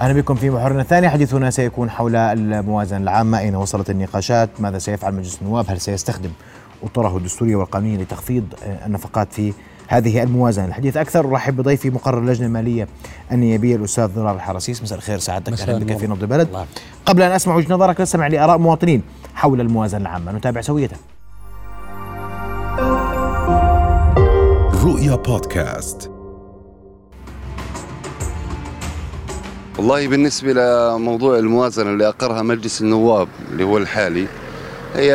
اهلا بكم في محورنا الثاني حديثنا سيكون حول الموازنه العامه اين وصلت النقاشات ماذا سيفعل مجلس النواب هل سيستخدم اطره الدستوريه والقانونيه لتخفيض النفقات في هذه الموازنه الحديث اكثر ارحب بضيفي مقرر اللجنه الماليه النيابيه الاستاذ ضرار الحراسيس مساء الخير سعادتك اهلا بك في نبض البلد الله. قبل ان اسمع وجهه نظرك نستمع لاراء مواطنين حول الموازنه العامه نتابع سويتها رؤيا بودكاست والله بالنسبة لموضوع الموازنة اللي أقرها مجلس النواب اللي هو الحالي هي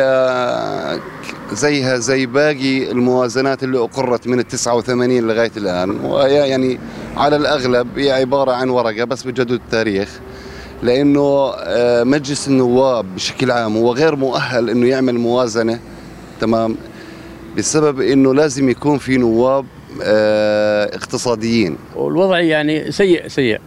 زيها زي باقي الموازنات اللي أقرت من التسعة وثمانين لغاية الآن وهي يعني على الأغلب هي عبارة عن ورقة بس بجدد التاريخ لأنه آه، مجلس النواب بشكل عام هو غير مؤهل أنه يعمل موازنة تمام بسبب أنه لازم يكون في نواب آه، اقتصاديين والوضع يعني سيء سيء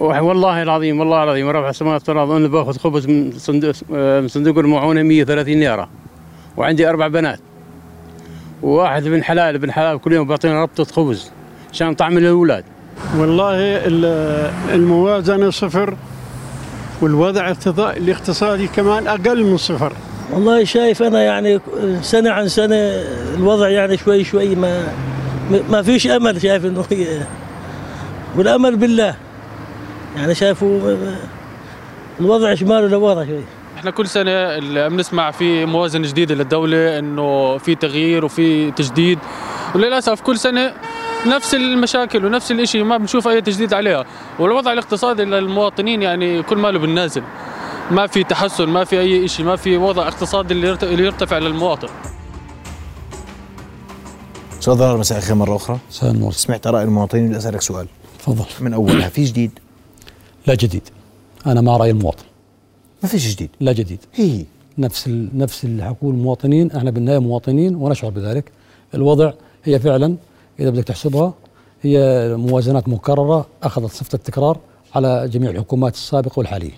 والله العظيم والله العظيم رفع السماء والارض انا باخذ خبز من صندوق آه، من صندوق المعونه 130 ليره وعندي اربع بنات وواحد ابن حلال ابن حلال كل يوم بيعطينا ربطه خبز عشان طعم الاولاد والله الموازنه صفر والوضع الاقتصادي كمان اقل من صفر والله شايف انا يعني سنه عن سنه الوضع يعني شوي شوي ما ما فيش امل شايف انه والامل بالله يعني شايفوا الوضع شمال لورا شوي احنا كل سنه بنسمع في موازنه جديده للدوله انه في تغيير وفي تجديد وللاسف كل سنه نفس المشاكل ونفس الشيء ما بنشوف اي تجديد عليها والوضع الاقتصادي للمواطنين يعني كل ماله بالنازل ما في تحسن ما في اي شيء ما في وضع اقتصادي اللي يرتفع للمواطن استاذ مساء الخير مره اخرى مساء النور سمعت اراء المواطنين بدي اسالك سؤال تفضل من اولها في جديد لا جديد انا مع راي المواطن ما فيش جديد لا جديد هي نفس ال... نفس اللي حكوه المواطنين احنا بالنهايه مواطنين ونشعر بذلك الوضع هي فعلا اذا بدك تحسبها هي موازنات مكرره اخذت صفه التكرار على جميع الحكومات السابقه والحاليه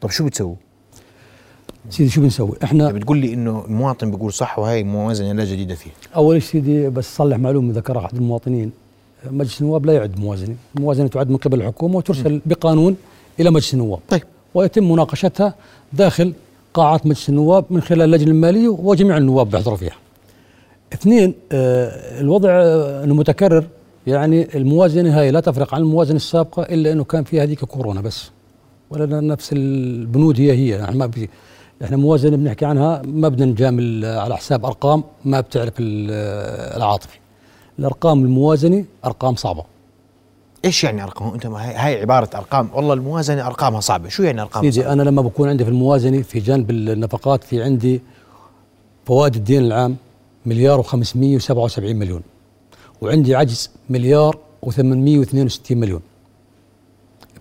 طب شو بتسووا؟ سيدي شو بنسوي؟ احنا آه. بتقول لي انه المواطن بيقول صح وهي موازنه لا جديد فيها اول شيء سيدي بس صلح معلومه ذكرها احد المواطنين مجلس النواب لا يعد موازنه، الموازنه تعد من قبل الحكومه وترسل بقانون الى مجلس النواب. طيب ويتم مناقشتها داخل قاعات مجلس النواب من خلال اللجنه الماليه وجميع النواب بيحضروا فيها. اثنين آه الوضع انه متكرر يعني الموازنه هاي لا تفرق عن الموازنه السابقه الا انه كان فيها هذيك كورونا بس. ولا نفس البنود هي هي يعني ما في احنا موازنه بنحكي عنها ما بدنا نجامل على حساب ارقام ما بتعرف العاطفه. الارقام الموازنه ارقام صعبه ايش يعني ارقام انت هاي عباره ارقام والله الموازنه ارقامها صعبه شو يعني ارقام سيدي انا لما بكون عندي في الموازنه في جانب النفقات في عندي فوائد الدين العام مليار و577 مليون وعندي عجز مليار و862 مليون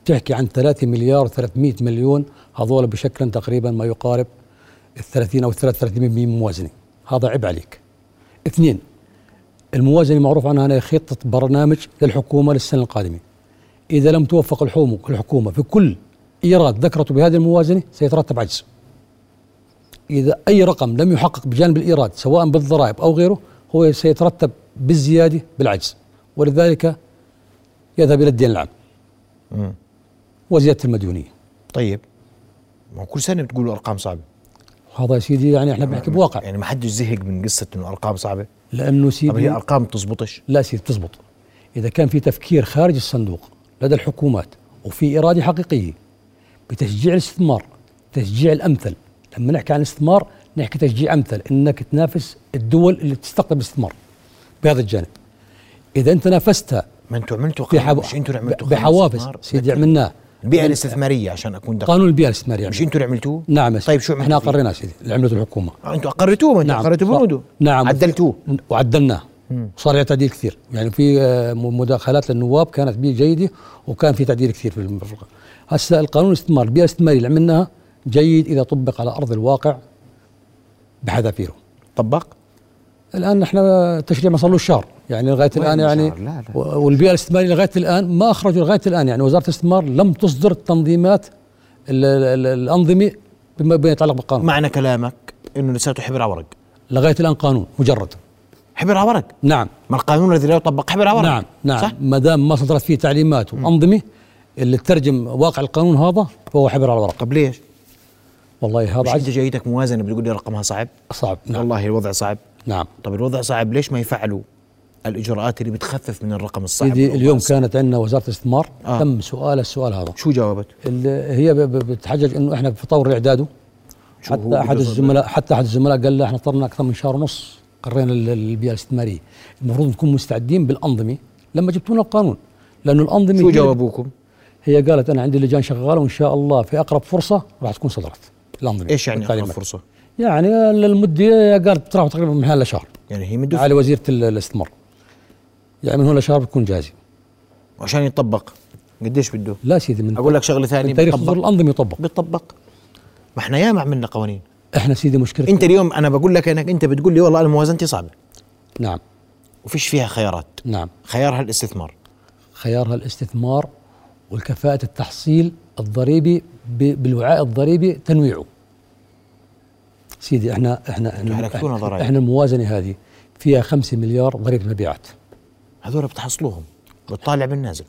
بتحكي عن 3 مليار و300 مليون هذول بشكل تقريبا ما يقارب ال 30 او 33% من موازنه هذا عيب عليك اثنين الموازنه معروف عنها انها خطه برنامج للحكومه للسنه القادمه. اذا لم توفق الحكومه في كل ايراد ذكرته بهذه الموازنه سيترتب عجز. اذا اي رقم لم يحقق بجانب الايراد سواء بالضرائب او غيره هو سيترتب بالزياده بالعجز ولذلك يذهب الى الدين العام. وزياده المديونيه. طيب ما كل سنه بتقولوا ارقام صعبه. هذا يا سيدي يعني احنا بنحكي بواقع يعني ما حدش زهق من قصه انه ارقام صعبه لانه سيدي طب هي ارقام بتزبطش لا سيدي بتزبط اذا كان في تفكير خارج الصندوق لدى الحكومات وفي اراده حقيقيه بتشجيع الاستثمار تشجيع الامثل لما نحكي عن الاستثمار نحكي تشجيع امثل انك تنافس الدول اللي تستقطب الاستثمار بهذا الجانب اذا انت نافستها ما انتوا عملتوا قانون مش انتوا عملتوا بحوافز سيدي عملناه البيئه الاستثماريه عشان اكون دقيق قانون البيئه الاستثماريه مش انتوا اللي عملتوه؟ نعم طيب شو احنا قررناه سيدي اللي عملته الحكومه انتوا اقرتوه آه، ما انتوا نعم. اقرتوا بنوده نعم عدلتوه وعدلناه وصار عليه تعديل كثير يعني في مداخلات للنواب كانت بيه جيده وكان في تعديل كثير في المفرقة. هسه القانون الاستثمار البيئه الاستثماريه اللي عملناها جيد اذا طبق على ارض الواقع بحذافيره طبق؟ الان احنا التشريع ما صار له شهر يعني لغايه الان يعني لا لا. والبيئه الاستثماريه لغايه الان ما اخرجوا لغايه الان يعني وزاره الاستثمار لم تصدر التنظيمات ال ال الانظمه بما يتعلق بالقانون معنى كلامك انه لساته حبر على ورق لغايه الان قانون مجرد حبر على ورق نعم ما القانون الذي لا يطبق حبر على ورق نعم نعم ما دام ما صدرت فيه تعليمات وانظمه اللي ترجم واقع القانون هذا فهو حبر على ورق طب ليش؟ والله مش هذا انت عجز جايتك موازنه بتقول لي رقمها صعب؟ صعب نعم والله الوضع صعب نعم طب الوضع صعب ليش ما يفعلوا الاجراءات اللي بتخفف من الرقم الصعب سيدي والله اليوم الصعب. كانت عندنا وزاره الاستثمار آه. تم سؤال السؤال هذا شو جاوبت؟ اللي هي ب- ب- بتحجج انه احنا في طور اعداده شو هو حتى احد بالضبط؟ الزملاء حتى احد الزملاء قال له احنا طرنا اكثر من شهر ونص قرينا ال- البيئه الاستثماريه المفروض نكون مستعدين بالانظمه لما جبتوا لنا القانون لانه الانظمه شو هي- جاوبوكم؟ هي قالت انا عندي لجان شغاله وان شاء الله في اقرب فرصه راح تكون صدرت الانظمه ايش يعني اقرب والتعليمات. فرصه؟ يعني المده قالت بتراوح تقريبا من هنا لشهر يعني هي مدة على وزيره ال- الاستثمار يعني من هنا لشهر بتكون جاهزه عشان يطبق قديش بده؟ لا سيدي من اقول لك شغله ثانيه من تاريخ صدور بيطبق الانظمه يطبق بيطبق ما احنا ياما عملنا قوانين احنا سيدي مشكله انت اليوم انا بقول لك انك انت بتقول لي والله انا موازنتي صعبه نعم وفيش فيها خيارات نعم خيارها الاستثمار خيارها الاستثمار والكفاءة التحصيل الضريبي ب- بالوعاء الضريبي تنويعه سيدي احنا احنا احنا, حركتونا ضرائب. احنا, احنا الموازنة هذه فيها خمسة مليار ضريبة مبيعات هذول بتحصلوهم بتطالع بالنازل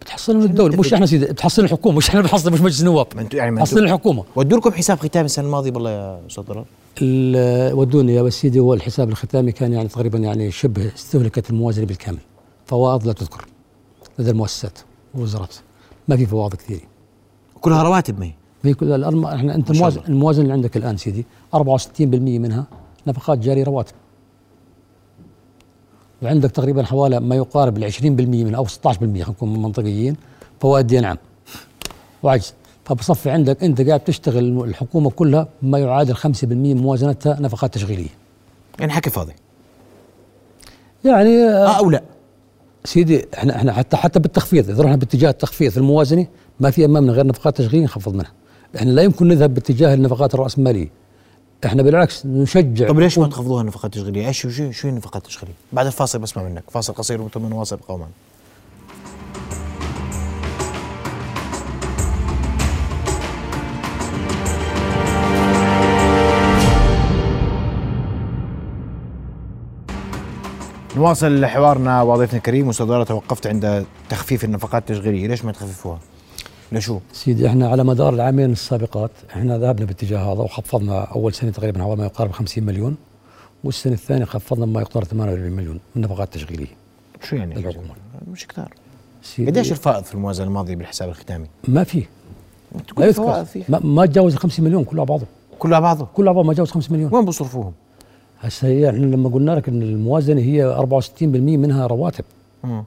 بتحصلها من الدولة مش احنا سيدي بتحصل الحكومة مش احنا بنحصل مش مجلس النواب ما انتوا يعني ما بتحصل انتوا الحكومة ودوا لكم حساب ختام السنه الماضيه بالله يا استاذ ضرر ال- ودوني يا بس سيدي هو الحساب الختامي كان يعني تقريبا يعني شبه استهلكت الموازنة بالكامل فوائض لا تذكر لدى المؤسسات والوزارات ما في فوائض كثيره كلها رواتب ما هي هي كلها الأرم... احنا انت ما شاء الموازن الله. الموازن اللي عندك الان سيدي 64% منها نفقات جاريه رواتب وعندك تقريبا حوالي ما يقارب ال 20% من او 16% خلينا نكون منطقيين فوائد دين عام وعجز فبصفي عندك انت قاعد تشتغل الم- الحكومه كلها ما يعادل 5% من موازنتها نفقات تشغيليه يعني حكي فاضي يعني آه، اه او لا سيدي احنا احنا حتى حتى بالتخفيض اذا رحنا باتجاه التخفيض في الموازنه ما في امامنا غير نفقات تشغيل نخفض منها. احنا لا يمكن نذهب باتجاه النفقات الراسماليه. احنا بالعكس نشجع طب طيب ليش ما تخفضوها النفقات التشغيليه؟ ايش شو شو النفقات التشغيليه؟ بعد الفاصل بسمع منك، فاصل قصير وثم نواصل قوما. نواصل حوارنا وضيفنا الكريم استاذ دارة، توقفت عند تخفيف النفقات التشغيليه، ليش ما تخففوها؟ لشو؟ سيدي احنا على مدار العامين السابقات احنا ذهبنا باتجاه هذا وخفضنا اول سنه تقريبا حوالي ما يقارب 50 مليون والسنه الثانيه خفضنا ما يقارب 48 مليون من النفقات التشغيليه. شو يعني؟ العقوبة. مش كثار. سيدي قديش الفائض في الموازنه الماضيه بالحساب الختامي؟ ما في تكون لا فوائد يذكر فيه. ما, ما تجاوز 50 مليون كله على بعضه كله على بعضه كله على بعضه ما تجاوز 5 مليون وين بصرفوهم؟ هسه هي احنا لما قلنا لك ان الموازنه هي 64% منها رواتب مم.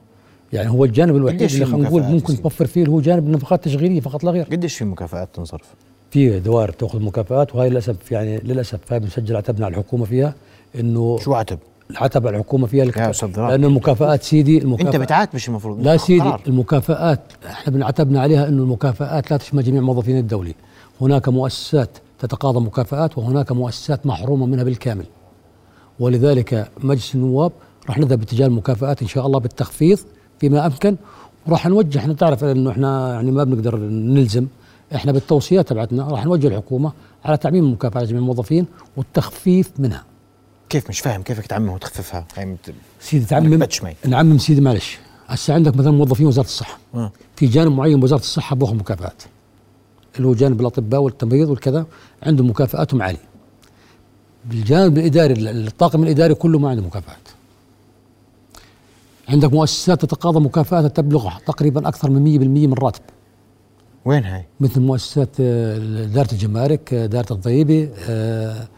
يعني هو الجانب الوحيد قديش اللي في خلينا نقول مكافآت ممكن يصير؟ توفر فيه اللي هو جانب النفقات التشغيليه فقط لا غير قديش في مكافآت تنصرف؟ في دوائر بتاخذ مكافآت وهي للاسف يعني للاسف هاي بنسجل عتبنا على الحكومه فيها انه شو عتب؟ العتب على الحكومه فيها الكتاب. أستاذ ضرار. لانه المكافآت سيدي المكافآت انت بتعاتبش المفروض لا أنت سيدي قرار. المكافآت احنا بنعتبنا عليها انه المكافآت لا تشمل جميع موظفين الدولي هناك مؤسسات تتقاضى مكافآت وهناك مؤسسات محرومه منها بالكامل ولذلك مجلس النواب راح نذهب باتجاه المكافآت ان شاء الله بالتخفيض فيما امكن وراح نوجه احنا تعرف انه احنا يعني ما بنقدر نلزم احنا بالتوصيات تبعتنا راح نوجه الحكومه على تعميم مكافآت جميع الموظفين والتخفيف منها كيف مش فاهم كيفك تعمم وتخففها؟ يعني بت- سيدي تعمم بتش معي. نعمم نعم سيدي معلش هسه عندك مثلا موظفين وزاره الصحه آه. في جانب معين بوزاره الصحه بوخ مكافآت اللي هو جانب الاطباء والتمريض والكذا عندهم مكافاتهم عاليه بالجانب الاداري الطاقم الاداري كله ما عنده مكافآت عندك مؤسسات تتقاضى مكافاتها تبلغ تقريبا اكثر من 100% من راتب وين هاي؟ مثل مؤسسات آه، دائرة الجمارك آه، دائرة الضيبة آه،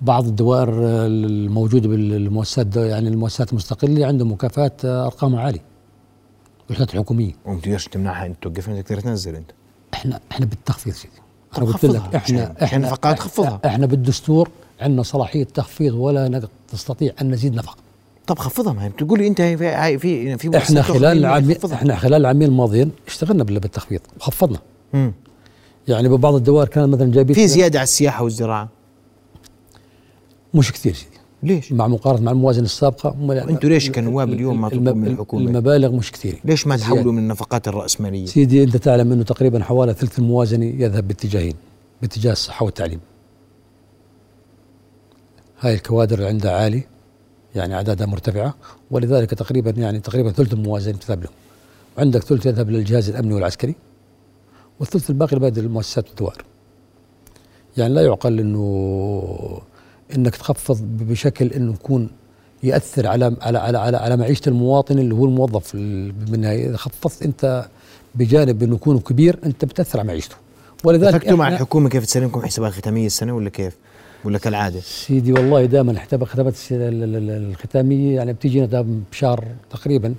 بعض الدوائر آه، الموجودة بالمؤسسات يعني المؤسسات المستقلة عندهم مكافآت آه، أرقامها عالية الوحدات الحكومية وما تقدرش تمنعها انت توقفها بدك تقدر تنزل انت احنا احنا بالتخفيض سيدي طب أنا قلت لك خفضها. احنا عشان- عشان احنا نفقات خفضها. احنا بالدستور عندنا صلاحية تخفيض ولا نق- تستطيع أن نزيد نفقة طب خفضها ما هي بتقول لي انت هاي في هاي في في مؤسسات احنا خلال تخفيض العامين خفضها. احنا خلال العامين الماضيين اشتغلنا بال- بالتخفيض وخفضنا مم. يعني ببعض الدوائر كان مثلا جايبين في زياده على السياحه والزراعه مش كثير سيدي ليش؟ مع مقارنه مع الموازنه السابقه وأنتوا ليش كنواب اليوم ما تطلبوا من الحكومة؟ المبالغ مش كثيره ليش ما زيادة. تحولوا من النفقات الراسماليه؟ سيدي انت تعلم انه تقريبا حوالي ثلث الموازنه يذهب باتجاهين باتجاه الصحه والتعليم هاي الكوادر اللي عندها عالي يعني اعدادها مرتفعه ولذلك تقريبا يعني تقريبا ثلث الموازنه تذهب لهم عندك ثلث يذهب للجهاز الامني والعسكري والثلث الباقي لبادئ المؤسسات والدوائر يعني لا يعقل انه انك تخفض بشكل انه يكون ياثر على على على على, على معيشه المواطن اللي هو الموظف ال- بالنهايه اذا خفضت انت بجانب انه يكون كبير انت بتاثر على معيشته ولذلك اتفقتوا مع إحنا- الحكومه كيف تسلمكم حسابات ختاميه السنه ولا كيف؟ ولا كالعاده؟ سيدي والله دائما حتى ختمت الس- ال- ال- ال- الختاميه يعني بتجينا دائما بشهر تقريبا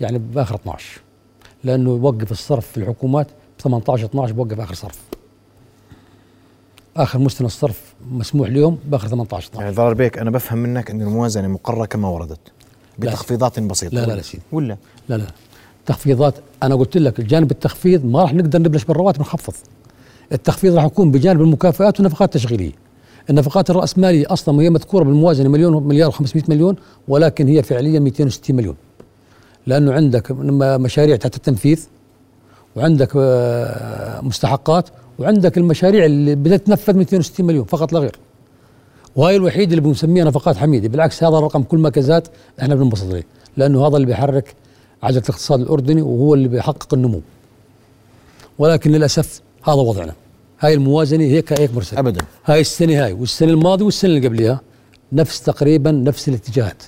يعني باخر 12 لانه يوقف الصرف في الحكومات ب 18 12 بوقف اخر صرف اخر مستند الصرف مسموح اليوم باخر 18 12 يعني ضرر بيك انا بفهم منك ان الموازنه مقره كما وردت بتخفيضات بسيطه لا، لا، لا، سيدي. ولا لا لا تخفيضات انا قلت لك الجانب التخفيض ما راح نقدر نبلش بالرواتب نخفض التخفيض راح يكون بجانب المكافآت والنفقات التشغيليه النفقات الرأسمالية أصلا وهي مذكورة بالموازنة مليون مليار و500 مليون ولكن هي فعليا 260 مليون لأنه عندك م- مشاريع تحت التنفيذ وعندك آه، مستحقات وعندك المشاريع اللي بدأت تنفذ 260 مليون فقط لا غير وهي الوحيد اللي بنسميها نفقات حميده بالعكس هذا الرقم كل ما كزات احنا بننبسط عليه لانه هذا اللي بيحرك عجله الاقتصاد الاردني وهو اللي بيحقق النمو ولكن للاسف هذا وضعنا هاي الموازنه هيك هيك مرسله ابدا هاي السنه هاي والسنه الماضيه والسنه اللي قبلها نفس تقريبا نفس الاتجاهات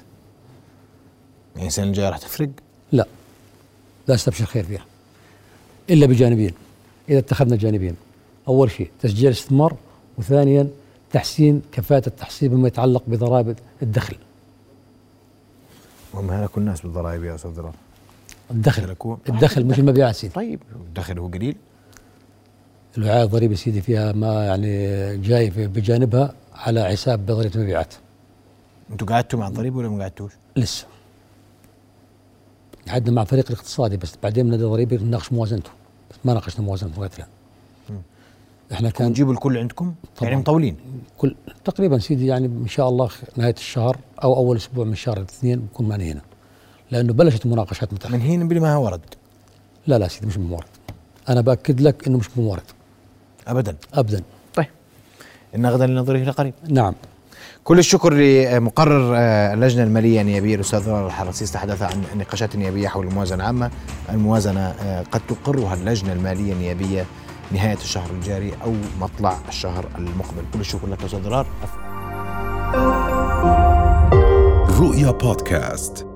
يعني السنه الجايه راح تفرق لا لا استبشر خير فيها الا بجانبين اذا اتخذنا جانبين اول شيء تشجيع الاستثمار وثانيا تحسين كفاءه التحصيل بما يتعلق بضرائب الدخل وهم هلكوا الناس بالضرائب يا استاذ ضرار الدخل هلكوا الدخل مش المبيعات سيدي طيب الدخل هو قليل الوعاء الضريبي سيدي فيها ما يعني جاي في- بجانبها على حساب ضريبه المبيعات انتوا قعدتوا مع الضريبه ولا ما قعدتوش؟ لسه قعدنا مع فريق الاقتصادي بس بعدين نادى ضريبي نناقش موازنته بس ما ناقشنا موازنته لغايه الان احنا كان تجيبوا الكل عندكم؟ طبعاً. يعني مطولين كل تقريبا سيدي يعني ان شاء الله خ- نهايه الشهر او اول اسبوع من شهر الاثنين بكون معنا هنا لانه بلشت مناقشات متاخره من هنا بلا ما ورد لا لا سيدي مش بمورد انا باكد لك انه مش بمورد ابدا ابدا طيب ان غدا لنظره لقريب نعم كل الشكر لمقرر آه، اللجنه الماليه النيابيه الاستاذ ضرار الحرسيس تحدث عن النقاشات النيابيه حول الموازنه العامه الموازنه آه، قد تقرها اللجنه الماليه النيابيه نهايه الشهر الجاري او مطلع الشهر المقبل كل الشكر لك استاذ ضرار رؤيا بودكاست